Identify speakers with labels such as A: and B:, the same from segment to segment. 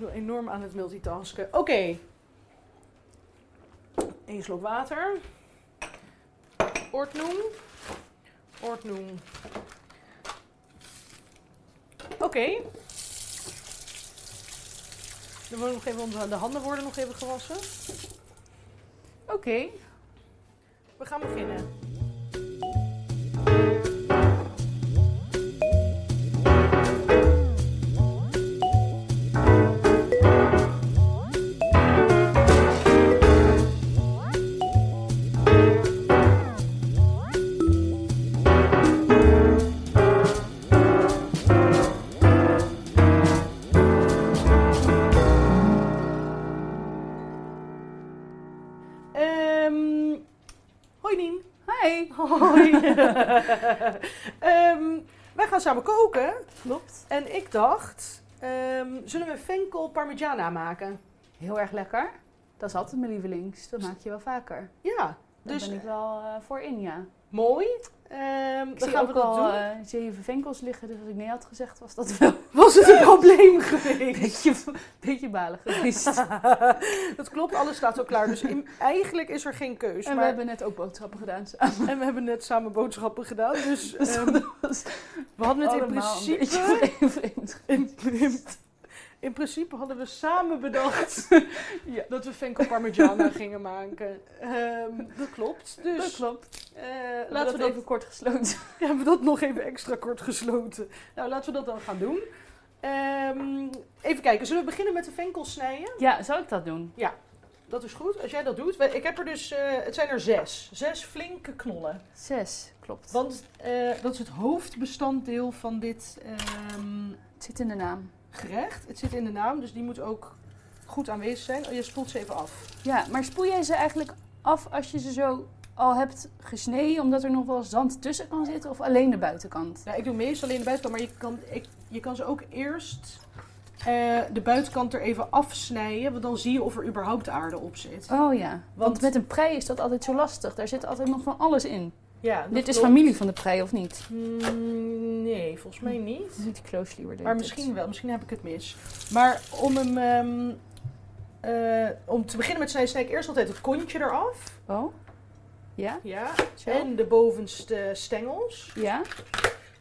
A: zo enorm aan het multitasken. Oké. Eén slok water. Ordnoem. Ordnoem. Oké. Er worden nog even onze- de handen worden nog even gewassen. Oké. We gaan beginnen. Ehm, hoi Nien.
B: Hi.
A: Hoi. Ehm, wij gaan samen koken.
B: Klopt.
A: En ik dacht, ehm, zullen we venkel parmigiana maken?
B: Heel erg lekker. Dat is altijd mijn lievelings. Dat maak je wel vaker.
A: Ja,
B: Daar
A: Dus-
B: ben ik wel eh, voor in, ja.
A: mooi. Ehm,
B: Ik
A: dan
B: zie
A: gaan
B: ook
A: we dat
B: al
A: doen.
B: eh, zeven venkels liggen, dus als ik nee had gezegd, was dat wel een
A: Was het een probleem geweest?
B: beetje, beetje balig geweest.
A: dat klopt, alles staat al klaar. Dus in- eigenlijk is er geen keus.
B: en we
A: maar,
B: hebben net ook boodschappen gedaan samen.
A: en we hebben net samen boodschappen gedaan. Dus
B: Dus
A: ehm,
B: dat was
A: we hadden het in
B: allemaal een
A: principe...
B: beetje vreemd.
A: In, in, in principe hadden we samen bedacht
B: Ja.
A: dat we venkel parmigiana gingen maken. Ehm, dat klopt. Dus
B: Dat klopt.
A: eh,
B: Laten we dat even kort gesloten.
A: Ja, hebben we dat nog even extra kort gesloten. Nou, laten we dat dan gaan doen. Ehm, even kijken, zullen we beginnen met de venkels snijden?
B: Ja, zou ik dat doen?
A: Dat is goed, als jij dat doet. Ik heb er dus, eh, het zijn er zes. Zes flinke knollen.
B: Zes, klopt.
A: Want eh, dat is het hoofdbestanddeel van dit ehm,
B: Het zit in de naam.
A: gerecht. Het zit in de naam, dus die moet ook goed aanwezig zijn. Oh, je spoelt ze even af.
B: Ja, maar spoel jij ze eigenlijk af als je ze zo al hebt gesneden, omdat er nog wel zand tussen kan zitten, of alleen de buitenkant?
A: Ja, Nou, ik doe meestal alleen de buitenkant, maar je kan, ik, je kan ze ook eerst eh, de buitenkant er even afsnijden. Want dan zie je of er überhaupt aarde op zit.
B: Oh ja, want,
A: Want-
B: met een prei is dat altijd zo lastig. Daar zit altijd nog van alles in.
A: Ja, dat
B: Dit is
A: klopt.
B: familie van de prei, of niet?
A: Mm, nee, volgens mij niet.
B: Het is niet closely worden.
A: Maar misschien wel, misschien heb ik het mis. Maar om hem. ehm, eh, om te beginnen met snijden, snij ik eerst altijd het kontje eraf.
B: Oh? Ja?
A: Ja.
B: Zo?
A: En de bovenste stengels.
B: Ja?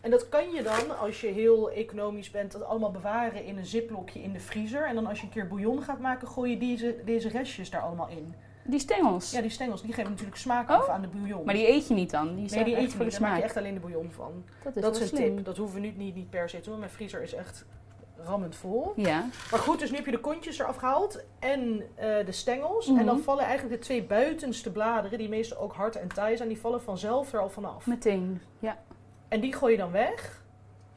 A: En dat kan je dan, als je heel economisch bent, dat allemaal bewaren in een ziplokje in de vriezer. En dan als je een keer bouillon gaat maken, gooi je deze, deze restjes daar allemaal in.
B: Die stengels.
A: Ja, die stengels, die geven natuurlijk smaak
B: Oh.
A: af aan de bouillon.
B: Maar die eet je niet dan. Die
A: nee,
B: zijn
A: die
B: echt
A: eet je
B: voor
A: niet,
B: de
A: daar maak
B: smaak.
A: je echt alleen de bouillon van.
B: Dat is
A: Dat is
B: wel
A: een
B: slim.
A: tip. Dat hoeven we nu niet, niet per se te doen. Mijn vriezer is echt rammend vol.
B: Ja.
A: Maar goed, dus nu heb je de kontjes eraf gehaald en eh, de stengels.
B: Mhm.
A: En dan vallen eigenlijk de twee buitenste bladeren, die meestal ook hard en taai zijn, die vallen vanzelf er al vanaf.
B: Meteen. Ja.
A: En die gooi je dan weg.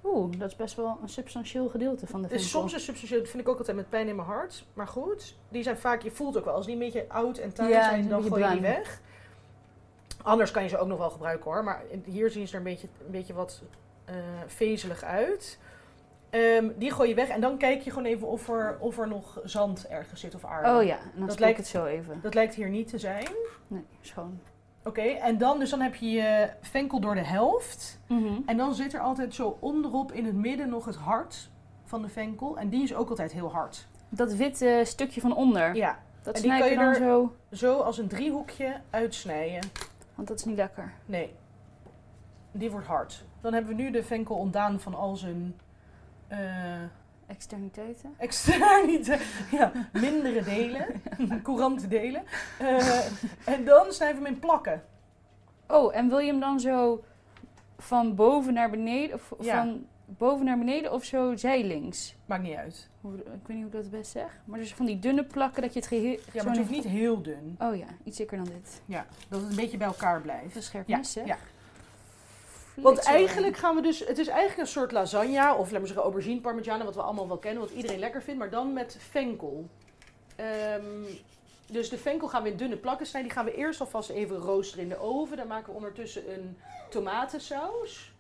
B: Oeh, dat is best wel een substantieel gedeelte van de
A: Dus
B: venkel.
A: soms is substantieel, dat vind ik ook altijd met pijn in mijn hart. Maar goed, die zijn vaak, je voelt ook wel, als die een beetje oud en taai
B: Ja, die
A: zijn,
B: zijn
A: dan
B: een
A: gooi
B: beetje
A: je die weg. Anders kan je ze ook nog wel gebruiken hoor. Maar hier zien ze er een beetje, een beetje wat eh, vezelig uit. Ehm, die gooi je weg en dan kijk je gewoon even of er, of er nog zand ergens zit of aarde.
B: Oh ja, en dan
A: Dat lijkt-
B: dat lijkt het zo even.
A: Dat lijkt hier niet te zijn.
B: Nee, schoon.
A: Oké, en dan, dus dan heb je je venkel door de helft.
B: Mhm.
A: En dan zit er altijd zo onderop in het midden nog het hart van de venkel. En die is ook altijd heel hard.
B: Dat witte stukje van onder,
A: Ja,
B: dat
A: en die
B: snij
A: kan
B: je
A: je
B: dan
A: er-
B: zo.
A: zo als een driehoekje uitsnijden.
B: Want dat is niet lekker.
A: Nee, die wordt hard. Dan hebben we nu de venkel ontdaan van al zijn eh,
B: Externiteiten.
A: externite, ja, mindere delen, courante delen. Eh, en dan snijden we hem in plakken.
B: Oh, en wil je hem dan zo van boven naar beneden? Of
A: Ja.
B: van boven naar beneden of zo zijlings?
A: Maakt niet uit.
B: Hoe, ik weet niet hoe ik dat het best zeg. Maar dus van die dunne plakken dat je het geheel...
A: Ja,
B: zo
A: maar het
B: naar-
A: hoeft niet heel dun.
B: Oh ja, iets dikker dan dit.
A: Ja, dat het een beetje bij elkaar
B: Even een
A: blijft.
B: scherp
A: Ja,
B: mes, hè?
A: ja.
B: Flitser.
A: Want eigenlijk gaan we dus, het is eigenlijk een soort lasagne of laten we zeggen aubergine parmigiana, wat we allemaal wel kennen, wat iedereen lekker vindt, maar dan met venkel. Ehm, dus de venkel gaan we in dunne plakken snijden. Die gaan we eerst alvast even roosteren in de oven. Dan maken we ondertussen een tomatensaus.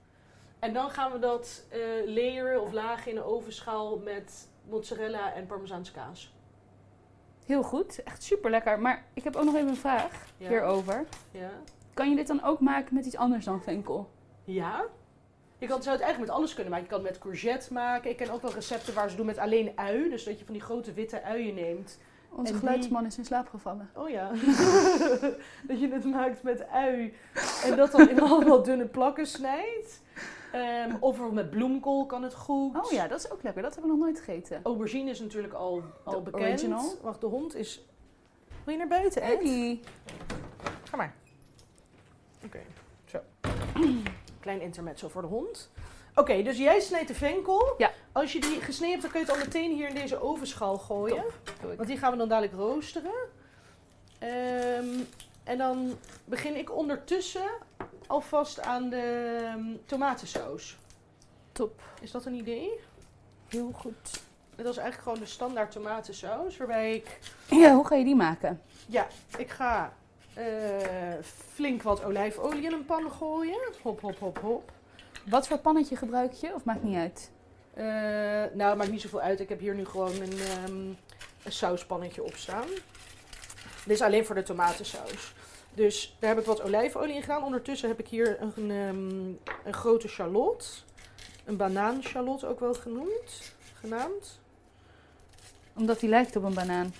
A: En dan gaan we dat eh layeren of lagen in de ovenschaal met mozzarella en parmezaanse kaas.
B: Heel goed, echt super lekker. Maar ik heb ook nog even een vraag
A: Ja.
B: hierover.
A: Ja?
B: Kan je dit dan ook maken met iets anders dan venkel?
A: Ja? Je kan, zou het eigenlijk met alles kunnen maken. Je kan het met courgette maken. Ik ken ook wel recepten waar ze doen met alleen ui. Dus dat je van die grote witte uien neemt.
B: Onze
A: En
B: geluidsman is in slaap gevallen.
A: Oh ja. dat je het maakt met ui. En dat dan in allemaal dunne plakken snijdt. Ehm, of er met bloemkool kan het goed.
B: Oh ja, dat is ook lekker. Dat hebben we nog nooit gegeten.
A: Aubergine is natuurlijk al, al
B: De
A: bekend.
B: original.
A: Wacht, de hond is... Wil je naar
B: Oh,
A: buiten, Ed?
B: Hey.
A: Ga maar. Oké, zo. Klein intermezzo voor de hond. Oké, dus jij snijdt de venkel.
B: Ja.
A: Als je die gesneden hebt, dan kun je het al meteen hier in deze ovenschaal gooien. Want die gaan we dan dadelijk roosteren. Ehm, en dan begin ik ondertussen alvast aan de ehm, tomatensaus.
B: Top.
A: Is dat een idee?
B: Heel goed.
A: Dat is eigenlijk gewoon de standaard tomatensaus. Waarbij ik,
B: Ja, hoe ga je die maken?
A: ik ga eh, flink wat olijfolie in een pan gooien. Hop, hop, hop, hop.
B: Wat voor pannetje gebruik je? Of maakt niet uit?
A: Eh, nou, het maakt niet zoveel uit. Ik heb hier nu gewoon een, ehm, een sauspannetje op staan. Dit is alleen voor de tomatensaus. Dus daar heb ik wat olijfolie in gedaan. Ondertussen heb ik hier een, ehm, een grote shallot. Een banaanchalot ook wel genoemd. Genaamd.
B: Omdat die lijkt op een banaan.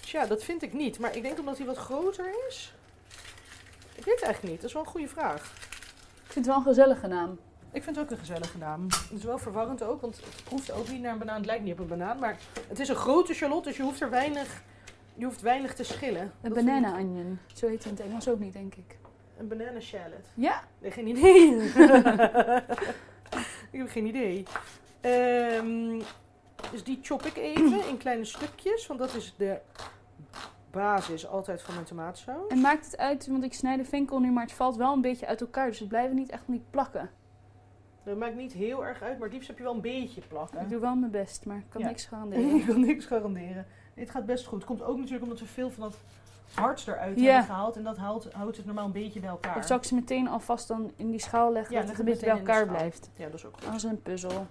A: Tja, dat vind ik niet. Maar ik denk omdat hij wat groter is. Ik weet het eigenlijk niet. Dat is wel een goede vraag.
B: Ik vind het wel een gezellige naam.
A: Ik vind het ook een gezellige naam. Het is wel verwarrend ook, want het proeft ook niet naar een banaan. Het lijkt niet op een banaan, maar het is een grote shallot, dus je hoeft er weinig, je hoeft weinig te schillen.
B: Een
A: Dat vind ik-
B: banana onion. Zo heet het in het Engels ook niet, denk ik.
A: Een banana shallot.
B: Ja.
A: Nee, geen idee. ik heb geen idee. Ehm, dus die chop ik even in kleine stukjes, want dat is de basis altijd van mijn tomaatsaus.
B: En maakt het uit, want ik snij de venkel nu, maar het valt wel een beetje uit elkaar. Dus het blijven niet echt niet plakken.
A: Dat maakt niet heel erg uit, maar het liefst heb je wel een beetje plakken.
B: Ik doe wel mijn best, maar ik kan
A: Ja.
B: niks garanderen.
A: Ik kan niks garanderen. Dit gaat best goed. Komt ook natuurlijk omdat we veel van dat hards eruit
B: Ja.
A: hebben gehaald. En dat houdt, houdt het normaal een beetje bij elkaar.
B: Of zou ik ze meteen alvast dan in die schaal leggen,
A: Ja,
B: dat
A: leg
B: het een
A: het
B: beetje bij
A: meteen in de
B: elkaar
A: schaal.
B: blijft.
A: Ja, dat is ook goed.
B: Als een puzzel.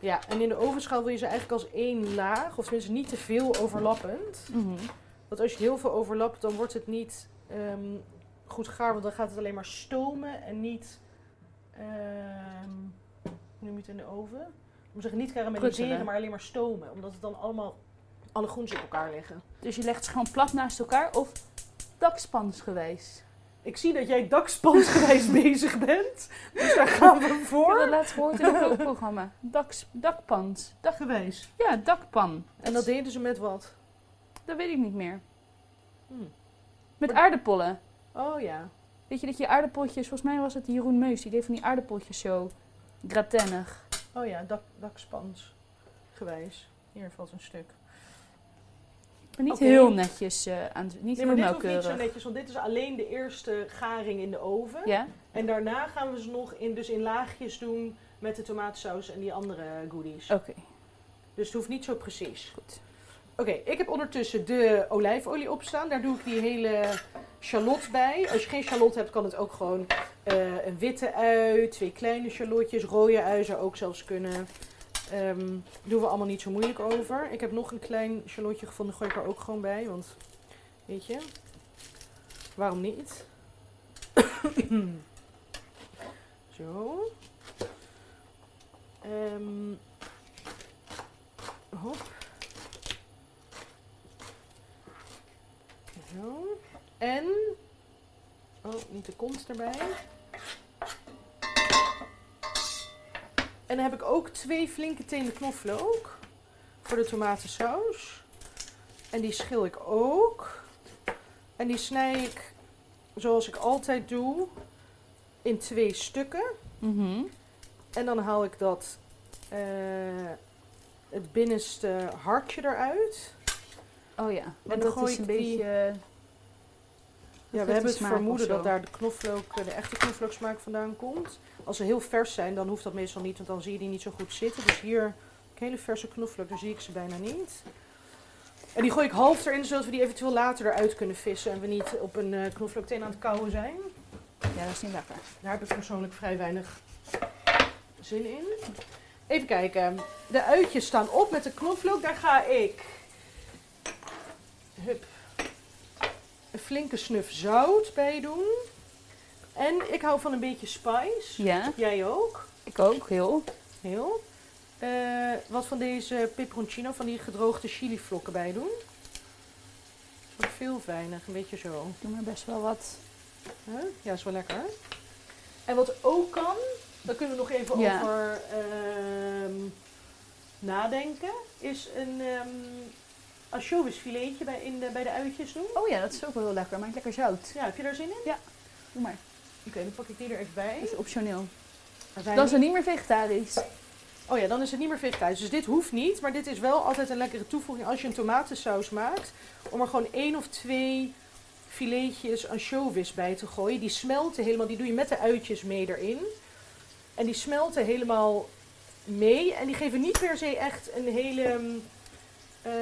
A: Ja, en in de ovenschaal wil je ze eigenlijk als één laag. Of tenminste niet te veel overlappend.
B: Mhm.
A: Want als je heel veel overlapt, dan wordt het niet ehm, goed gaar. Want dan gaat het alleen maar stomen en niet... ehm hoe noem je het in de oven? Ik moet zeggen, niet karamelliseren,
B: Pruttelen.
A: maar alleen maar stomen. Omdat het dan allemaal... Alle groens op elkaar liggen.
B: Dus je legt ze gewoon plat naast elkaar of dakspansgewijs.
A: Ik zie dat jij dakspansgewijs bezig bent. Dus daar gaan we
B: Ik heb
A: voor.
B: dat laatst gehoord in een kookprogramma. Daks, dakpans. Dak,
A: Gewijs.
B: ja, dakpan.
A: En dat deden ze met wat?
B: Dat weet ik niet meer.
A: Hmm.
B: Met aardappelen.
A: Oh ja.
B: Weet je dat je aardappeltjes, volgens mij was het Jeroen Meus, die deed van die aardappeltjes zo gratijnig.
A: Oh ja, dak, dakspansgewijs. Hier valt een stuk.
B: Maar niet
A: Oké.
B: heel netjes eh, aan het, niet
A: Nee, maar
B: heel
A: dit hoeft niet zo
B: nauwkeurig.
A: netjes, want dit is alleen de eerste garing in de oven.
B: Ja?
A: En daarna gaan we ze nog in, dus in laagjes doen met de tomatensaus en die andere goodies.
B: Oké,
A: Dus het hoeft niet zo precies.
B: goed.
A: Oké, ik heb ondertussen de olijfolie opstaan. Daar doe ik die hele shallot bij. Als je geen shallot hebt, kan het ook gewoon eh, een witte ui, twee kleine shallotjes, rode ui zou ook zelfs kunnen. Ehm doen we allemaal niet zo moeilijk over. Ik heb nog een klein shallotje gevonden, gooi ik er ook gewoon bij, want weet je, waarom niet? zo. Ehm hop. Zo. En. Oh, niet de kont erbij. En dan heb ik ook twee flinke tenen knoflook. Voor de tomatensaus. En die schil ik ook. En die snij ik, zoals ik altijd doe, in twee stukken.
B: Mhm.
A: En dan haal ik dat, eh, het binnenste hartje eruit.
B: Oh ja, want
A: dan
B: dat
A: gooi
B: is
A: ik
B: een
A: die-
B: beetje... eh, dat
A: Ja,
B: geeft
A: we hebben
B: die
A: het
B: smaak of
A: vermoeden dat
B: zo.
A: daar de knoflook, eh, de echte knoflooksmaak vandaan komt. Als ze heel vers zijn, dan hoeft dat meestal niet, want dan zie je die niet zo goed zitten. Dus hier heb ik hele verse knoflook, daar zie ik ze bijna niet. En die gooi ik half erin, zodat we die eventueel later eruit kunnen vissen en we niet op een eh knoflookteen aan het kouwen zijn.
B: Ja, dat is niet lekker.
A: Daar heb ik persoonlijk vrij weinig zin in. Even kijken. De uitjes staan op met de knoflook. Daar ga ik. Hup. Een flinke snuf zout bij doen. En ik hou van een beetje spice.
B: Ja,
A: Jij ook?
B: ik ook, heel.
A: Heel. Eh, wat van deze peperoncino, van die gedroogde chilivlokken bij doen. Zo Veel of weinig, een beetje zo.
B: Ik doe er best wel wat.
A: Hè? Ja, is wel lekker. En wat ook kan, daar kunnen we nog even
B: Ja.
A: over ehm, nadenken, is een um, anchovesfiletje bij, in de, bij de uitjes doen.
B: Oh ja, dat is ook wel heel lekker. Maakt lekker zout.
A: Ja, heb je daar zin in?
B: Doe maar.
A: Oké, dan pak ik die er even
B: Dat
A: bij.
B: is optioneel.
A: Dan zijn
B: Dan is het niet meer vegetarisch.
A: Oh ja, dan is het niet meer vegetarisch. Dus dit hoeft niet, maar dit is wel altijd een lekkere toevoeging als je een tomatensaus maakt. Om er gewoon één of twee filetjes anchovies bij te gooien. Die smelten helemaal, die doe je met de uitjes mee erin. En die smelten helemaal mee. En die geven niet per se echt een hele mm, eh,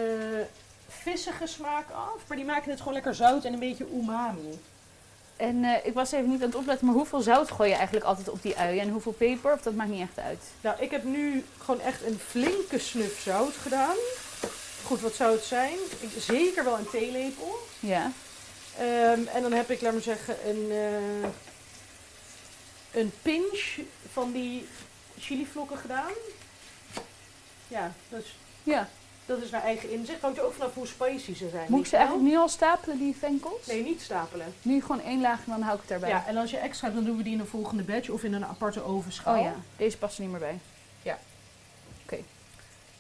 A: vissige smaak af. Maar die maken het gewoon lekker zout en een beetje umami.
B: En eh, ik was even niet aan het opletten, maar hoeveel zout gooi je eigenlijk altijd op die ui? En hoeveel peper? Of dat maakt niet echt uit.
A: Nou, ik heb nu gewoon echt een flinke snuf zout gedaan. Goed, wat zou het zijn? Ik- zeker wel een theelepel.
B: Ja.
A: Ehm, en dan heb ik, laat maar zeggen, een, eh, een pinch van die chilivlokken gedaan. Ja, dus
B: Ja.
A: dat is naar eigen inzicht. Hangt er ook vanaf hoe spicy ze zijn.
B: Moet ik
A: weet je
B: ze
A: wel?
B: eigenlijk nu al stapelen, die venkels?
A: Nee, niet stapelen.
B: Nu gewoon één laag en dan hou ik het daarbij.
A: Ja, en als je extra hebt, dan doen we die in een volgende batch of in een aparte ovenschaal.
B: Oh ja, deze past er niet meer bij.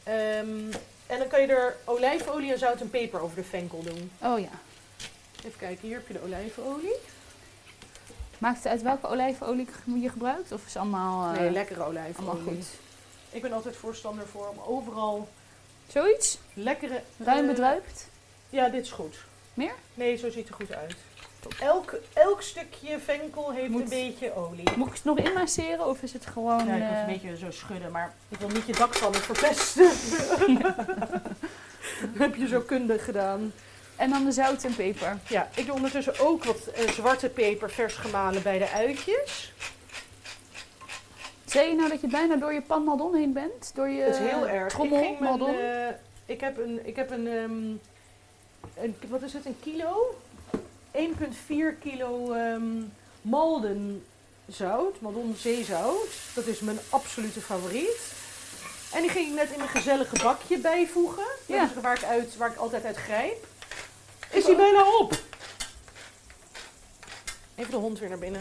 A: Ehm, en dan kan je er olijfolie en zout en peper over de venkel doen.
B: Oh ja.
A: Even kijken, hier heb je de olijfolie.
B: Maakt het uit welke olijfolie je gebruikt? Of is het allemaal, eh,
A: Nee, lekkere
B: allemaal
A: olijfolie.
B: goed?
A: Ik ben altijd voorstander voor om overal
B: Zoiets?
A: lekkere...
B: Ruim
A: eh,
B: bedruipt?
A: Ja, dit is goed.
B: Meer?
A: Nee, zo ziet het er goed uit. Elk, elk stukje venkel heeft
B: Moet-
A: een beetje olie.
B: Moet ik het nog inmasseren of is het gewoon...
A: Ja, ik moet
B: eh,
A: een beetje zo schudden, maar ik wil niet je dakpannen verpesten. Dat heb je zo kundig gedaan.
B: En dan de zout en peper.
A: Ja, ik doe ondertussen ook wat eh, zwarte peper vers gemalen bij de uitjes.
B: Zei je nou dat je bijna door je pan maldon heen bent? Door je
A: Dat is heel erg.
B: trommel
A: ik, ging mijn,
B: maldon?
A: eh, ik heb een, ik heb een, ehm, een wat is het, een kilo? 1,4 kilo ehm malden zout, maldon zeezout. Dat is mijn absolute favoriet. En die ging ik net in mijn gezellige bakje bijvoegen.
B: Ja.
A: Dat is waar ik, uit, waar ik altijd uit grijp. Is
B: Ik
A: die
B: ook.
A: bijna op? Even de hond weer naar binnen.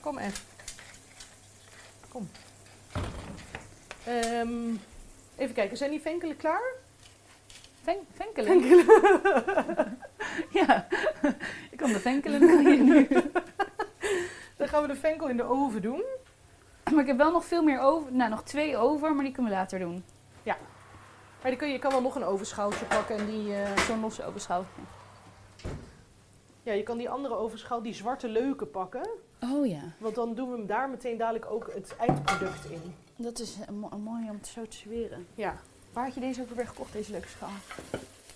A: Kom echt. Kom. Ehm, even kijken, zijn die venkelen klaar?
B: Ven- venkelen. ja, ik kan de venkelen doen hier nu.
A: Dan gaan we de venkel in de oven doen.
B: Maar ik heb wel nog veel meer over. Nou, nog twee over, maar die kunnen we later doen.
A: Maar die kun je, je kan wel nog een ovenschaaltje pakken en die... eh,
B: Zo'n losse open schaaltje.
A: ja, je kan die andere ovenschaal, die zwarte leuke pakken.
B: Oh ja,
A: Want dan doen we hem daar meteen dadelijk ook het eindproduct in.
B: dat is eh, mo- mooi om het zo te zweren.
A: Ja.
B: Waar had je deze ook weer gekocht, deze leuke schaal?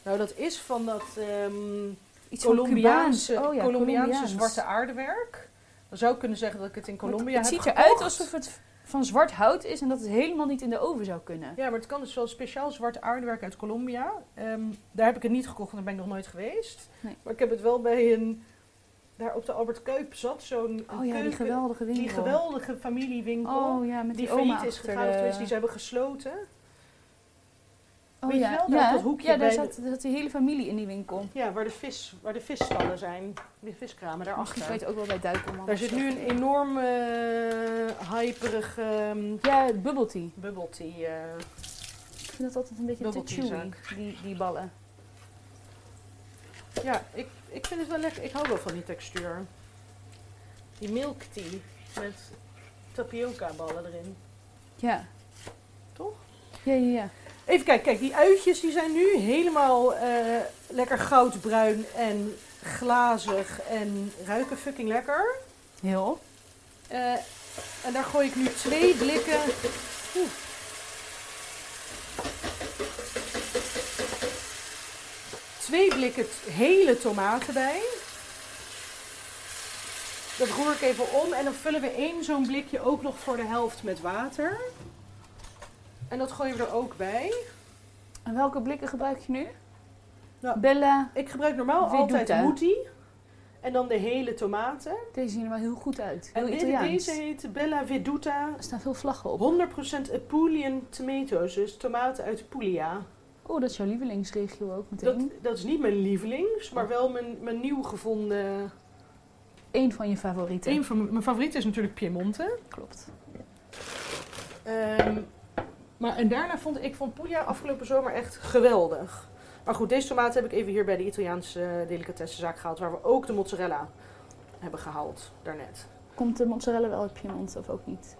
A: Nou, dat is van dat ehm,
B: Iets van
A: Colombiaanse,
B: Cubaans.
A: Colombiaanse
B: Colombiaans.
A: zwarte aardewerk. Dan zou ik kunnen zeggen dat ik het in
B: Want
A: Colombia
B: Het
A: heb
B: ziet eruit
A: gekocht.
B: alsof het van zwart hout is en dat het helemaal niet in de oven zou kunnen.
A: Ja, maar het kan dus wel speciaal zwart aardewerk uit Colombia. Ehm, daar heb ik het niet gekocht, want daar ben ik nog nooit geweest.
B: Nee.
A: Maar ik heb het wel bij een... Daar op de Albert Kuip zat zo'n
B: Oh ja, die
A: keuken-
B: geweldige winkel.
A: die geweldige familiewinkel.
B: Oh ja,
A: die
B: met die,
A: failliet
B: oma
A: is
B: achter
A: gegaan,
B: de-
A: of tenminste, die ze hebben gesloten.
B: Oh
A: Weet je
B: ja,
A: wel, daar
B: ja.
A: op dat hoekje
B: ja, daar
A: bij
B: zat, daar zat die hele familie in die winkel.
A: Ja, waar de, vis, waar de visstallen zijn. De viskramen
B: Misschien kan je
A: daarachter.
B: het ook wel bij duiken.
A: Daar zit nu een enorm eh hyperig ehm
B: Ja, bubble tea.
A: bubble tea. eh.
B: Ik vind dat altijd een beetje
A: Bubble
B: te
A: tea
B: chewy, die, die ballen.
A: Ja, ik, ik vind het wel lekker. Ik hou wel van die textuur. Die milk tea met tapioca ballen erin.
B: Ja.
A: Toch?
B: Ja, ja, ja.
A: Even kijken, kijk, die uitjes die zijn nu helemaal eh, lekker goudbruin en glazig en ruiken fucking lekker.
B: Heel.
A: Eh, en daar gooi ik nu twee blikken. Oeh. Twee blikken t- hele tomaten bij. Dat roer ik even om en dan vullen we één zo'n blikje ook nog voor de helft met water. En dat gooien we er ook bij.
B: En welke blikken gebruik je nu?
A: Nou,
B: Bella.
A: Ik gebruik normaal
B: Wie doet
A: altijd
B: dat?
A: moetie. En dan de hele tomaten.
B: Deze zien er wel heel goed uit. Heel
A: En dit-
B: Italiaans.
A: deze heet Bella Veduta.
B: Er staan veel vlaggen op.
A: 100% Apulian tomatoes, dus tomaten uit Puglia.
B: Oh, dat is jouw lievelingsregio ook meteen.
A: Dat, dat is niet mijn lievelings, maar wel mijn, mijn nieuw gevonden.
B: Eén van je favorieten.
A: Een van mijn- mijn favorieten is natuurlijk Piemonte.
B: Klopt.
A: Ehm, maar en daarna vond ik vond Puglia afgelopen zomer echt geweldig. Maar goed, deze tomaten heb ik even hier bij de Italiaanse eh, delicatessenzaak gehaald, waar we ook de mozzarella hebben gehaald daarnet.
B: Komt de mozzarella wel op je mond of ook niet?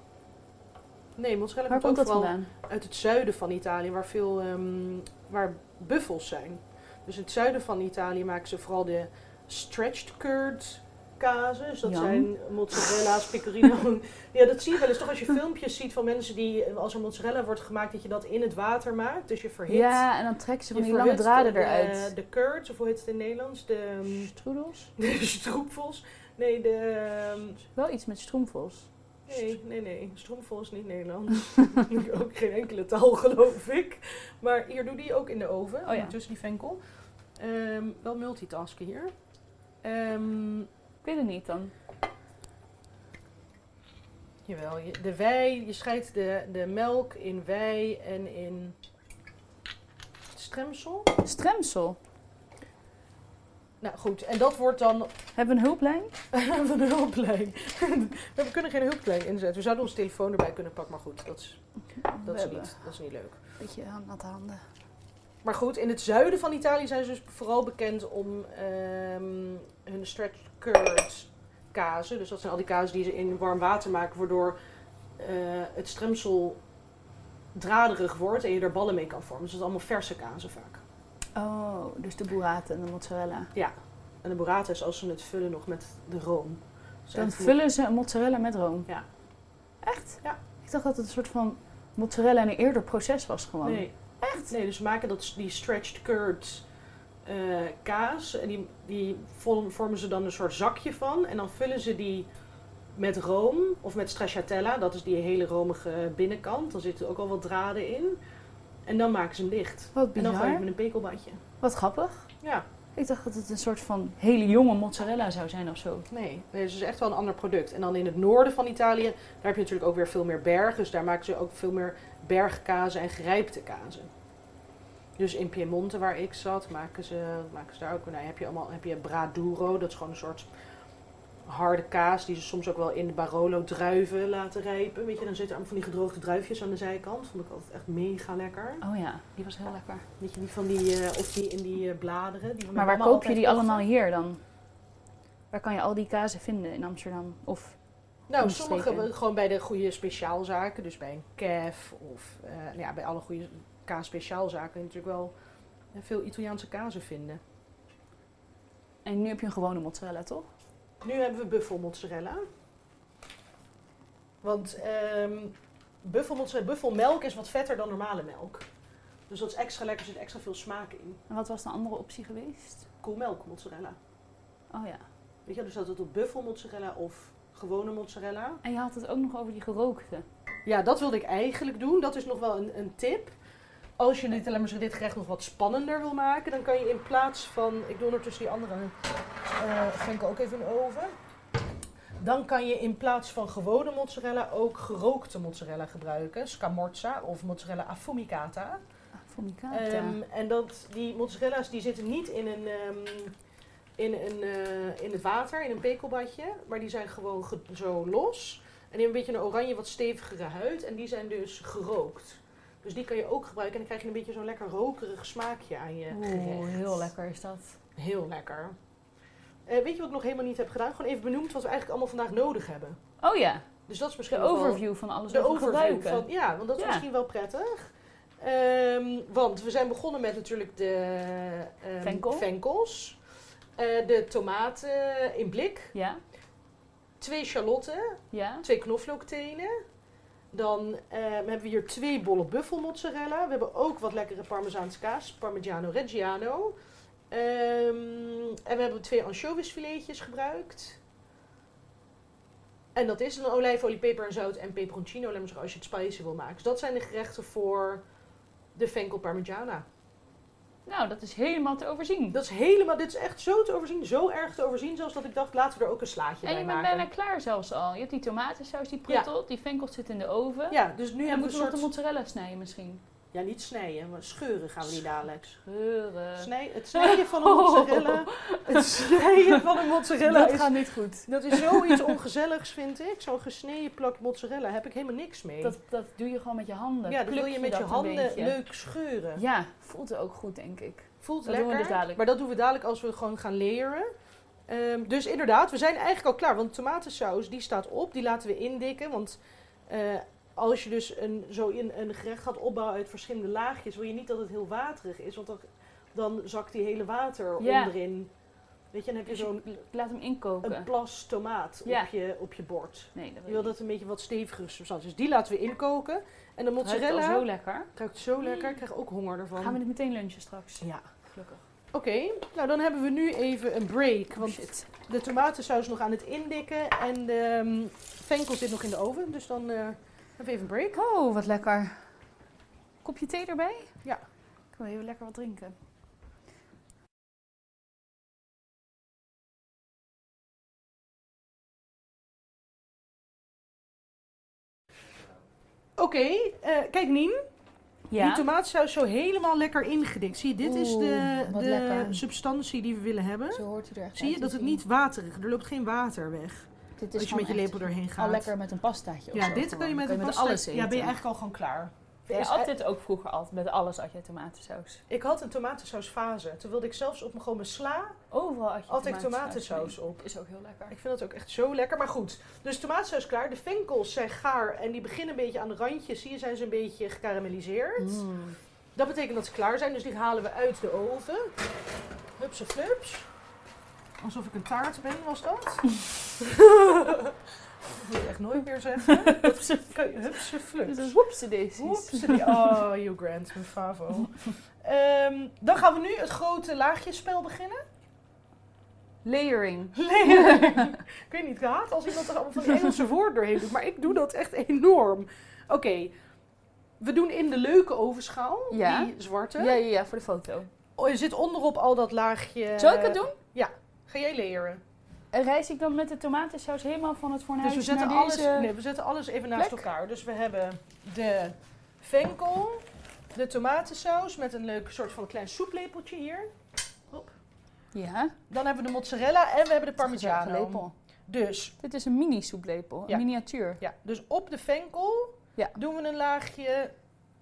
A: Nee, mozzarella
B: Waar
A: komt,
B: komt
A: ook
B: dat
A: vooral
B: vandaan?
A: uit het zuiden van Italië, waar veel ehm, waar buffels zijn. Dus in het zuiden van Italië maken ze vooral de stretched curd casus. Dat
B: Yum.
A: zijn mozzarella's, pecorino. ja, dat zie je wel eens toch als je filmpjes ziet van mensen die, eh, als er mozzarella wordt gemaakt, dat je dat in het water maakt. Dus je verhit.
B: Ja, en dan trekken ze
A: je
B: van die lange
A: verhit
B: draden
A: de-
B: eruit.
A: De curds, of hoe heet het in het Nederlands? De, ehm,
B: Stroedels?
A: de stroepvels. Nee, de... ehm,
B: Wel iets met stroomvels.
A: Nee, nee, nee. Stroomvol is niet Nederlands. ook geen enkele taal, geloof ik. Maar hier doe die ook in de oven,
B: Oh ja.
A: tussen die venkel. Ehm, wel multitasken hier. Ehm,
B: Ik weet het niet dan.
A: jawel, je- de wei, je scheidt de, de melk in wei en in stremsel.
B: Stremsel.
A: Nou goed, en dat wordt dan
B: Hebben we een hulplijn?
A: van een hulplijn. We kunnen geen hulplijn inzetten. We zouden ons telefoon erbij kunnen pakken, maar goed, dat is, dat is, niet, dat is niet leuk.
B: beetje aan natte handen.
A: Maar goed, in het zuiden van Italië zijn ze dus vooral bekend om ehm, hun stretch curd kazen. Dus dat zijn al die kazen die ze in warm water maken, waardoor eh, het stremsel draderig wordt en je er ballen mee kan vormen. Dus dat zijn allemaal verse kazen vaak.
B: Oh, dus de burrata en de mozzarella.
A: Ja. En de burrata is als ze het vullen nog met de room. Dus
B: Dan
A: echt met-
B: vullen ze een mozzarella met room.
A: Ja.
B: Echt?
A: Ja.
B: Ik dacht dat het een soort van mozzarella in een eerder proces was gewoon.
A: Nee. Echt? Nee, dus ze maken dat, die stretched curd eh, kaas. En die, die vorm- vormen ze dan een soort zakje van. En dan vullen ze die met room of met stracciatella. Dat is die hele romige binnenkant. Dan zitten ook al wat draden in. En dan maken ze hem dicht.
B: Wat
A: En dan gooi je
B: bizar.
A: hem in een pekelbadje.
B: Wat grappig.
A: Ja,
B: Ik dacht dat het een soort van hele jonge mozzarella zou zijn of zo.
A: nee. nee. Dus het is echt wel een ander product. En dan in het noorden van Italië, daar heb je natuurlijk ook weer veel meer bergen. Dus daar maken ze ook veel meer bergkazen en gerijpte kazen. Dus in Piemonte, waar ik zat, maken ze, maken ze daar ook. Nou, heb je allemaal heb je Braduro, dat is gewoon een soort harde kaas die ze soms ook wel in de Barolo druiven laten rijpen. Weet je, dan zitten allemaal van die gedroogde druifjes aan de zijkant. Vond ik altijd echt mega lekker.
B: Oh ja, die was heel lekker.
A: Weet je, die van die, eh, of die in die eh, bladeren. Die van mijn
B: Maar waar
A: mama
B: koop je
A: altijd
B: die
A: kocht.
B: allemaal hier dan? Waar kan je al die kazen vinden in Amsterdam? Of
A: Nou,
B: Omstreken.
A: sommige wel- gewoon bij de goede speciaalzaken. Dus bij een Kef of eh, nou ja, bij alle goede kaas-speciaalzaken kun je natuurlijk wel eh, veel Italiaanse kazen vinden.
B: en nu heb je een gewone mozzarella, toch?
A: Nu hebben we buffelmozzarella. Want ehm buffelmozzarella, buffelmelk is wat vetter dan normale melk. Dus dat is extra lekker, er zit extra veel smaak in.
B: En wat was de andere optie geweest?
A: Koelmelk mozzarella.
B: Oh ja.
A: Weet je, dus dat het op buffelmozzarella of gewone mozzarella.
B: En je had het ook nog over die gerookte.
A: Ja, dat wilde ik eigenlijk doen. Dat is nog wel een, een tip. Als je dit, laat maar zeggen, dit gerecht nog wat spannender wil maken, dan kan je in plaats van. Ik doe ondertussen die andere eh venkel ook even in de oven. Dan kan je in plaats van gewone mozzarella ook gerookte mozzarella gebruiken. Scamorza of mozzarella affumicata.
B: Ah, Formicata.
A: Ehm, en dat, die mozzarella's die zitten niet in, een, ehm, in, een, eh, in het water, in een pekelbadje. Maar die zijn gewoon ge- zo los. En die hebben een beetje een oranje, wat stevigere huid. En die zijn dus gerookt. Dus die kan je ook gebruiken. En dan krijg je een beetje zo'n lekker rokerig smaakje aan je
B: Oeh,
A: gerecht.
B: heel lekker is dat.
A: Heel lekker. Eh, weet je wat ik nog helemaal niet heb gedaan? Gewoon even benoemd wat we eigenlijk allemaal vandaag nodig hebben.
B: Oh ja,
A: Dus dat is misschien
B: de
A: nog wel-
B: overview van alles
A: de
B: wat we
A: overview
B: gebruiken.
A: van, ja, want dat is
B: Ja.
A: misschien wel prettig. Ehm, want we zijn begonnen met natuurlijk de ehm,
B: Venkel.
A: venkels, Eh, de tomaten in blik,
B: Ja,
A: twee shallotten,
B: ja.
A: twee knoflooktenen. Dan ehm, hebben we hier twee bolle buffelmozzarella. We hebben ook wat lekkere parmezaanse kaas, parmigiano reggiano. Ehm, en we hebben twee anchovisfiletjes gebruikt. En dat is een olijfolie, peper en zout en peperoncino, laat maar zeggen, als je het spicy wil maken. Dus dat zijn de gerechten voor de venkel parmigiana.
B: Nou, dat is helemaal te overzien.
A: Dat is helemaal, dit is echt zo te overzien, zo erg te overzien, zelfs dat ik dacht, laten we er ook een slaatje
B: En
A: bij
B: je bent
A: maken.
B: bijna klaar zelfs al. Je hebt die tomatensaus die pruttelt, die venkelt zit in de oven. En
A: Ja, dus nu
B: dan
A: hebben we een
B: moeten we nog
A: soort...
B: de mozzarella snijden misschien.
A: Ja, niet snijden, maar scheuren gaan we niet Alex.
B: Geuren.
A: Snij, het snijden van een mozzarella, het snijden van een mozzarella
B: Oh. Dat
A: is,
B: gaat niet goed.
A: dat is zoiets ongezelligs, vind ik. Zo'n gesneden plak mozzarella heb ik helemaal niks mee.
B: Dat, dat doe je gewoon met je handen.
A: ja, dat wil
B: Pluk
A: je met je
B: dat een
A: handen
B: beetje.
A: leuk scheuren.
B: Ja, voelt ook goed, denk ik.
A: Voelt
B: Dat doen we
A: lekker.
B: dus dadelijk.
A: Maar dat doen we dadelijk als we gewoon gaan leren. Ehm, dus inderdaad, we zijn eigenlijk al klaar. Want de tomatensaus die staat op, die laten we indikken. Want eh, als je dus een, zo in een gerecht gaat opbouwen uit verschillende laagjes, wil je niet dat het heel waterig is. Want dan, dan zakt die hele water
B: Ja.
A: onderin. Weet je, dan heb je
B: Dus je
A: zo'n
B: ik laat hem
A: een
B: inkoken.
A: plas tomaat
B: Ja.
A: op, je, op je bord.
B: Nee, dat
A: Je wil dat een beetje wat stevigere substantie. Dus die laten we inkoken. En de
B: Het ruikt al
A: mozzarella.
B: zo lekker.
A: Ruikt zo lekker. Ik krijg ook honger ervan.
B: Gaan we dit meteen lunchen straks?
A: Ja.
B: Gelukkig.
A: Oké, nou dan hebben we nu even een break. Want
B: Oh, shit.
A: de tomatensaus is nog aan het indikken en de ehm, venkel zit nog in de oven. Dus dan eh, hebben we even een break.
B: Oh, wat lekker. Kopje thee erbij?
A: Ja.
B: Ik wil even lekker wat drinken.
A: Oké, eh, kijk Nien, die tomatensaus zo helemaal lekker ingedikt. Zie je, dit is de,
B: Oeh, wat
A: de
B: lekker.
A: substantie die we willen hebben.
B: zo hoort hij er echt
A: Zie je, dat het niet waterig, er loopt geen water weg.
B: Dit
A: als je met je lepel doorheen gaat.
B: Al lekker met een pastaatje of
A: ja,
B: zo
A: dit
B: gewoon.
A: kan je met, een pasta-
B: alles eten.
A: Ja, ben je eigenlijk al gewoon klaar.
B: Je
A: Dus,
B: at
A: eh,
B: dit ook vroeger altijd, met alles at je tomatensaus.
A: ik had een tomatensausfase. Toen wilde ik zelfs op mijn, gewoon mijn sla
B: Overal at je
A: altijd
B: tomatensaus
A: tomatensaus
B: mee.
A: op.
B: Is ook heel lekker.
A: Ik vind dat ook echt zo lekker. Maar goed, dus de tomatensaus is klaar. De venkels zijn gaar en die beginnen een beetje aan de randjes. Zie je, zijn ze een beetje gekarameliseerd.
B: Mm.
A: Dat betekent dat ze klaar zijn, dus die halen we uit de oven. Hupse flups. Alsof ik een taart ben, was dat? dat moet ik echt nooit meer zeggen. Hupse- Hupse
B: Dit
A: flups.
B: is woepse deze.
A: Oeps. Oh, you Grant, mijn favo. Ehm, dan gaan we nu het grote laagjespel beginnen.
B: Layering.
A: Leren. ik weet niet, ik haat als iemand er allemaal van die Engelse woorden doorheen doet. Maar ik doe dat echt enorm. Oké, we doen in de leuke ovenschaal,
B: Ja.
A: die zwarte.
B: Ja, ja, ja, voor de foto.
A: Oh, er zit onderop al dat laagje...
B: Zou ik het doen?
A: Ga jij leren.
B: En reis ik dan met de tomatensaus helemaal van het fornuis
A: Dus we zetten,
B: naar
A: alles,
B: deze...
A: nee, we zetten alles even naast
B: plek?
A: elkaar. Dus we hebben de venkel, de tomatensaus met een leuk soort van klein soeplepeltje hier.
B: Ja,
A: Dan hebben we de mozzarella en we hebben de parmigiano.
B: lepel.
A: Dus
B: Dit is een mini soeplepel,
A: Ja.
B: een miniatuur.
A: Ja, dus op de venkel
B: Ja.
A: doen we een laagje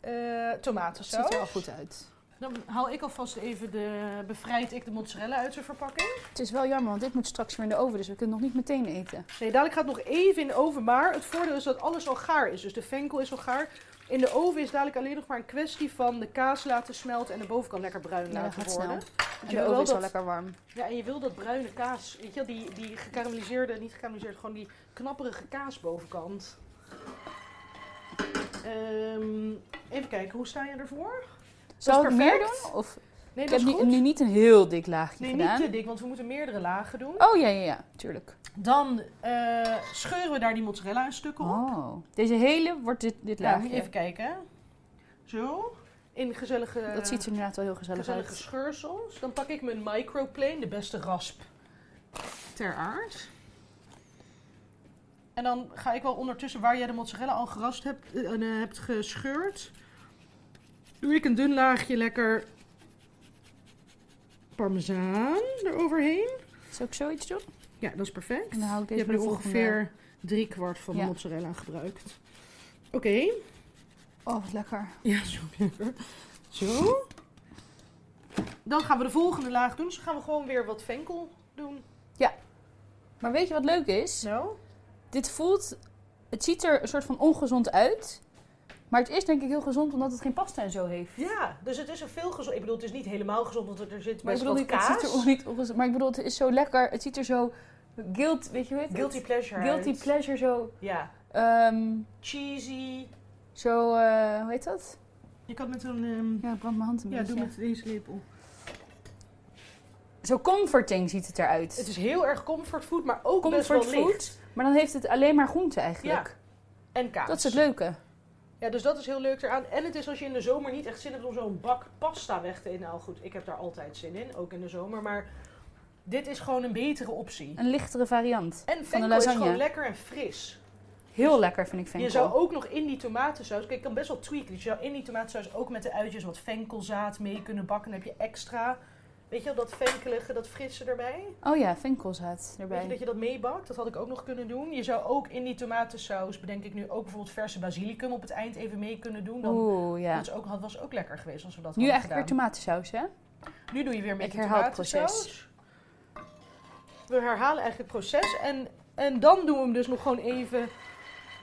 A: eh
B: Dat ziet
A: tomatensaus.
B: er al goed uit.
A: Dan haal ik alvast even de, bevrijd ik de mozzarella uit zijn verpakking.
B: Het is wel jammer, want dit moet straks weer in de oven, dus we kunnen het nog niet meteen eten.
A: Nee, dadelijk gaat het nog even in de oven, maar het voordeel is dat alles al gaar is. Dus de venkel is al gaar. In de oven is dadelijk alleen nog maar een kwestie van de kaas laten smelten en de bovenkant lekker bruin
B: Ja, dat
A: laten
B: Nou, gaat
A: worden.
B: snel.
A: Want
B: En
A: je wil
B: de oven
A: wel
B: is al
A: dat-
B: lekker warm.
A: Ja, en je wil dat bruine kaas, weet je wel, die, die gekarameliseerde, niet gekarameliseerde, gewoon die knapperige kaasbovenkant. Ehm, even kijken, hoe sta je ervoor?
B: Zal ik meer
A: perfect.
B: doen? Of...
A: Nee,
B: Ik
A: dat
B: heb
A: is
B: niet-
A: goed.
B: nu niet een heel dik laagje
A: nee, niet
B: gedaan.
A: te dik, want we moeten meerdere lagen doen.
B: Oh ja, ja, ja, tuurlijk.
A: Dan eh, scheuren we daar die mozzarella in stukken op.
B: Oh. Deze hele wordt dit, dit
A: ja, moet
B: laagje.
A: je even kijken. Zo, in gezellige,
B: Dat ziet er inderdaad wel heel gezellig
A: gezellige
B: uit.
A: scheursels. Dan pak ik mijn microplane, de beste rasp ter aard. En dan ga ik wel ondertussen, waar jij de mozzarella al gerast hebt eh, en eh, hebt gescheurd, doe ik een dun laagje lekker parmezaan eroverheen.
B: Zal ik zoiets doen?
A: Ja, dat is perfect.
B: En dan hou ik
A: Je
B: deze
A: hebt
B: voor
A: nu
B: de volgende.
A: ongeveer drie kwart van de
B: Ja.
A: mozzarella gebruikt. Oké.
B: Oh, wat lekker.
A: Ja, zo lekker. Zo. Dan gaan we de volgende laag doen. Dus dan gaan we gewoon weer wat venkel doen.
B: Maar weet je wat leuk is?
A: Zo.
B: Dit voelt... Het ziet er een soort van ongezond uit. Maar het is denk ik heel gezond omdat het geen pasta en zo heeft.
A: Ja, dus het is een veel gezond. Ik bedoel, het is niet helemaal gezond, want er zit
B: Maar ik
A: best
B: bedoel,
A: wel
B: niet- het ziet er
A: kaas.
B: on- niet ongezond. Maar ik bedoel, het is zo lekker. Het ziet er zo guilt, weet je hoe heet het?
A: Guilty pleasure.
B: Guilty
A: uit.
B: pleasure zo.
A: Ja.
B: ehm,
A: Cheesy.
B: zo, eh, hoe heet dat?
A: Je kan met een... ehm,
B: Ja, brand mijn hand een
A: ja,
B: beetje.
A: doe met deze lepel.
B: Zo comforting ziet het eruit.
A: Het is heel erg comfort food, maar ook best
B: comfort
A: wel licht.
B: food. Maar dan heeft het alleen maar groente eigenlijk.
A: En kaas.
B: Dat is het leuke.
A: Ja, dus dat is heel leuk eraan. En het is als je in de zomer niet echt zin hebt om zo'n bak pasta weg te eten. Nou goed, ik heb daar altijd zin in, ook in de zomer. Maar dit is gewoon een betere optie.
B: Een lichtere variant.
A: En
B: Van de
A: venkel is
B: lasagne.
A: gewoon lekker en fris.
B: Heel lekker vind ik
A: Je
B: venkel.
A: zou ook nog in die tomatensaus... Kijk, ik kan best wel tweaken. Dus je zou in die tomatensaus ook met de uitjes wat venkelzaad mee kunnen bakken. Dan heb je extra, weet je wel, dat venkelige, dat frisse erbij.
B: Oh ja, venkelzaad
A: Weet je dat
B: erbij.
A: je dat meebakt? Dat had ik ook nog kunnen doen. Je zou ook in die tomatensaus, bedenk ik nu, ook bijvoorbeeld verse basilicum op het eind even mee kunnen doen. Dan
B: Oeh, ja.
A: Dat is ook, had- was ook lekker geweest als we dat
B: Nu
A: hadden
B: eigenlijk weer
A: gedaan.
B: tomatensaus, hè?
A: Nu doe je weer een beetje
B: Ik herhaal het
A: tomatensaus. We herhalen eigenlijk het proces. En, en dan doen we hem dus nog gewoon even...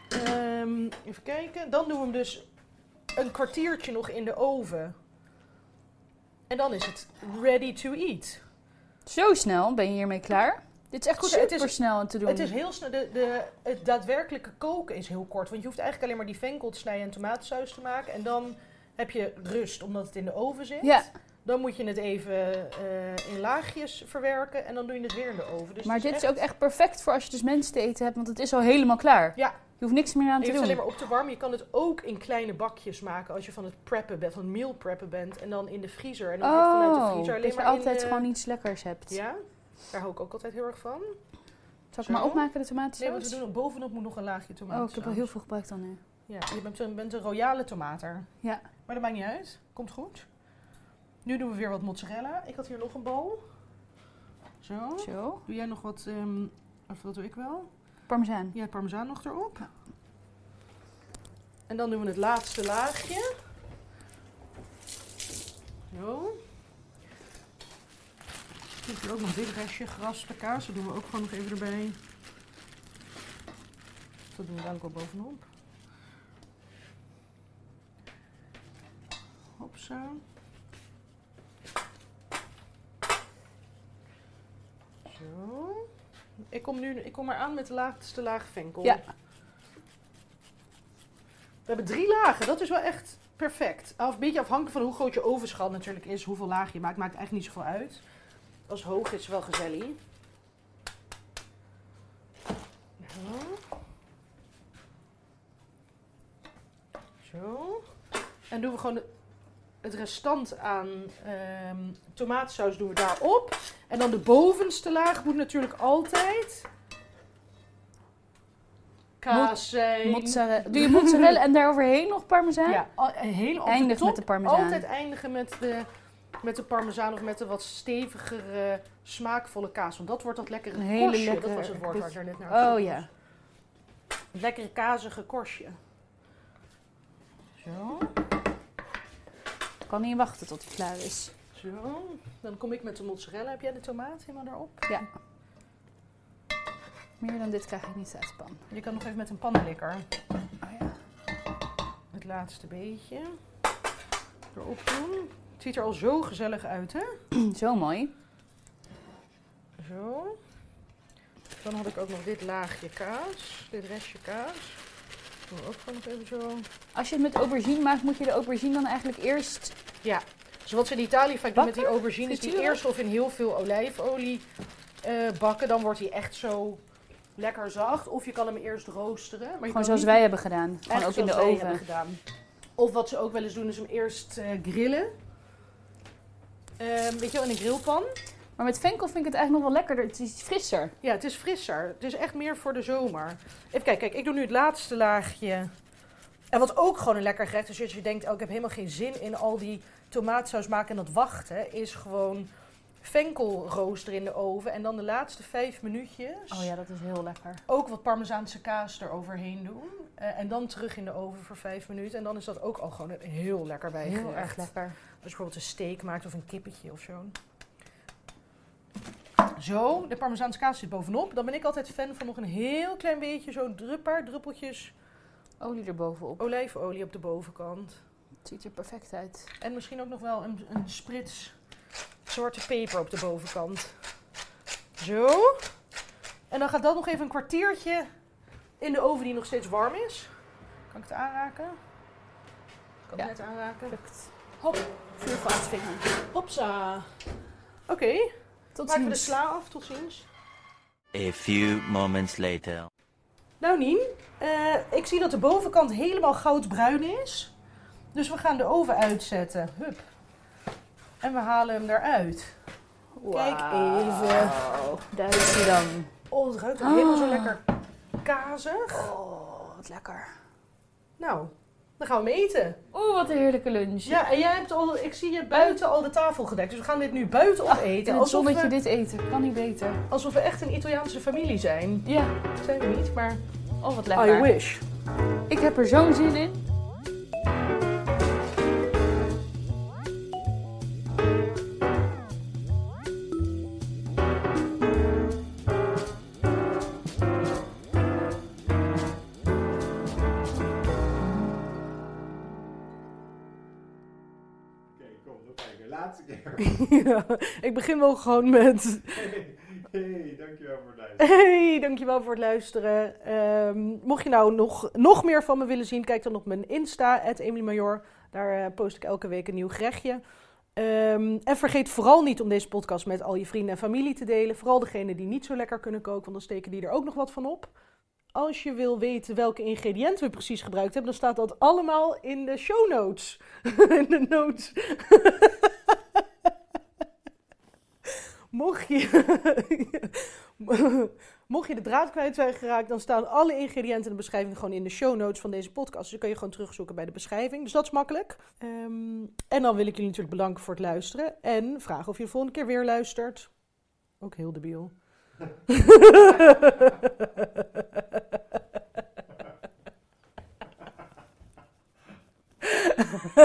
A: ehm, even kijken. Dan doen we hem dus een kwartiertje nog in de oven. En dan is het ready to eat.
B: Zo snel ben je hiermee klaar. Dit is echt
A: Goed, het
B: super
A: is-
B: snel te doen.
A: Het is heel snel. De, de, het daadwerkelijke koken is heel kort. Want je hoeft eigenlijk alleen maar die venkel te snijden en tomatensaus te maken. En dan heb je rust, omdat het in de oven zit.
B: ja,
A: Dan moet je het even eh, in laagjes verwerken en dan doe je het weer in de oven. Dus
B: maar
A: het
B: dit is ook echt perfect voor als je dus mensen te eten hebt, want het is al helemaal klaar.
A: Ja.
B: Je hoeft niks meer aan
A: Je
B: te
A: hoeft het
B: doen.
A: alleen maar op te warmen. Je kan het ook in kleine bakjes maken als je van het preppen bent, van het meal preppen bent. En dan in de vriezer. En dan heb je vanuit de
B: Oh,
A: vriezer alleen
B: dat je
A: maar in
B: altijd
A: de-
B: gewoon iets lekkers hebt.
A: Ja, daar hou ik ook altijd heel erg van.
B: Zal ik
A: Zo?
B: maar opmaken, de
A: Nee, want we
B: tomatensaus?
A: doen bovenop moet nog een laagje tomaat.
B: oh, ik heb al heel veel gebruikt dan nu.
A: Ja, je bent, een- bent een royale tomater.
B: Ja.
A: Maar dat maakt niet uit. Komt goed. Nu doen we weer wat mozzarella. Ik had hier nog een bal. Zo.
B: Zo.
A: Doe jij nog wat, ehm, of dat doe ik wel?
B: Parmezaan.
A: Ja, parmezaan nog erop. En dan doen we het laatste laagje. Zo. Ik heb hier ook nog dit restje geraspte kaas. Dat doen we ook gewoon nog even erbij. Dat doen we dadelijk ook bovenop. Hopsa. Zo. Ik kom, nu, ik kom maar aan met de laatste laag venkel.
B: Ja.
A: We hebben drie lagen. Dat is wel echt perfect. Of een beetje afhankelijk van hoe groot je ovenschal natuurlijk is. Hoeveel laag je maakt. Maakt eigenlijk niet zoveel uit. Als het hoog is het wel gezellig. Zo. Zo. En doen we gewoon het restant aan ehm tomatensaus doen we daarop. En dan de bovenste laag moet natuurlijk altijd kaas zijn.
B: Mozzarella. Doe je mozzarella en daaroverheen nog parmezaan?
A: Ja, al- en heel op
B: Eindigt
A: de top,
B: met de parmezaan.
A: Altijd eindigen met de, met de parmezaan of met de wat stevigere, smaakvolle kaas. Want dat wordt dat lekkere
B: Een hele
A: korstje.
B: lekker-
A: Dat was het woord waar ik daar net naar
B: Oh
A: op zoek
B: ja.
A: was. Het lekkere kazige korstje. Zo,
B: Ik kan niet wachten tot die klaar is.
A: zo. Dan kom ik met de mozzarella. Heb jij de tomaat helemaal erop?
B: Ja. Meer dan dit krijg ik niet uit de pan.
A: Je kan nog even met een pannenlikker
B: Oh ja.
A: het laatste beetje erop doen. Het ziet er al zo gezellig uit, hè?
B: Zo mooi.
A: Zo. Dan had ik ook nog dit laagje kaas. Dit restje kaas. Doen we ook gewoon nog even zo.
B: Als je het met aubergine maakt, moet je de aubergine dan eigenlijk eerst...
A: Ja. Dus wat ze in Italië vaak doen met die aubergine is die
B: Frituren?
A: eerst of in heel veel olijfolie eh, bakken. Dan wordt hij echt zo lekker zacht. Of je kan hem eerst roosteren. Maar je kan
B: Gewoon zoals
A: niet-
B: wij hebben gedaan. Gewoon ook
A: eigenlijk
B: in de
A: zoals wij hebben
B: oven.
A: gedaan. Of wat ze ook wel eens doen is hem eerst eh, grillen. Eh, weet je wel, in een grillpan.
B: Maar met venkel vind ik het eigenlijk nog wel lekkerder. Het is iets frisser.
A: Ja, het is frisser. Het is echt meer voor de zomer. Even kijken, kijk, ik doe nu het laatste laagje. En wat ook gewoon een lekker gerecht is, als je denkt, oh, ik heb helemaal geen zin in al die tomaatsaus maken en dat wachten, is gewoon venkelrooster in de oven. En dan de laatste vijf minuutjes
B: Oh ja, dat is heel lekker.
A: ook wat parmezaanse kaas eroverheen doen. Eh, en dan terug in de oven voor vijf minuten. En dan is dat ook al gewoon een heel lekker bijgerecht.
B: Heel erg lekker.
A: Als je bijvoorbeeld een steak maakt of een kippetje of zo. Zo, de parmezaanse kaas zit bovenop. Dan ben ik altijd fan van nog een heel klein beetje, zo'n drup- paar druppeltjes
B: Olie erbovenop.
A: olijfolie op de bovenkant.
B: Het ziet er perfect uit.
A: En misschien ook nog wel een, een sprits zwarte peper op de bovenkant. Zo. En dan gaat dat nog even een kwartiertje in de oven die nog steeds warm is. Kan ik het aanraken? Kan ik
B: Ja.
A: het net aanraken?
B: Perfect.
A: Hop,
B: Vuur voor aan het vinger.
A: hopsa. Oké.
B: Tot
A: Maken we de
B: ziens.
A: sla af, tot ziens.
C: A few moments later.
A: Nou Nien, eh, ik zie dat de bovenkant helemaal goudbruin is. Dus we gaan de oven uitzetten. Hup. En we halen hem eruit. Kijk even.
B: Daar is hij dan.
A: Oh, het ruikt ook helemaal zo
B: Ah.
A: lekker kazig.
B: Oh, wat lekker.
A: Nou, dan gaan we hem eten.
B: Oeh, wat een heerlijke lunch.
A: Ja, en jij hebt al, ik zie je buiten al de tafel gedekt. Dus we gaan dit nu buiten opeten.
B: In het
A: alsof,
B: zonnetje
A: we,
B: dit eten. Kan niet beter.
A: alsof we echt een Italiaanse familie zijn.
B: Ja.
A: Dat zijn we niet, maar
B: Oh, wat
A: I
B: lekker.
A: wish.
B: Ik heb er zo'n zin in.
C: Oké, kom, nog kijken. Laatste keer.
A: Ja, ik begin wel gewoon met
C: Hey, hey, dankjewel voor het luisteren.
A: Hey, dankjewel voor het luisteren. Ehm, mocht je nou nog, nog meer van me willen zien, kijk dan op mijn Insta, @emilymajor. Daar eh, post ik elke week een nieuw gerechtje. Ehm, en vergeet vooral niet om deze podcast met al je vrienden en familie te delen. Vooral degenen die niet zo lekker kunnen koken, want dan steken die er ook nog wat van op. Als je wil weten welke ingrediënten we precies gebruikt hebben, dan staat dat allemaal in de show notes. in de notes. Mocht je, Mocht je de draad kwijt zijn geraakt, dan staan alle ingrediënten in de beschrijving gewoon in de show notes van deze podcast. Dus dan kun je gewoon terugzoeken bij de beschrijving. Dus dat is makkelijk. Ehm, en dan wil ik jullie natuurlijk bedanken voor het luisteren. En vragen of je de volgende keer weer luistert. Ook heel debiel.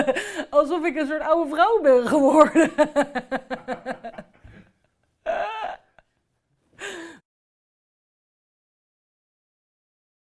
A: Alsof ik een soort oude vrouw ben geworden.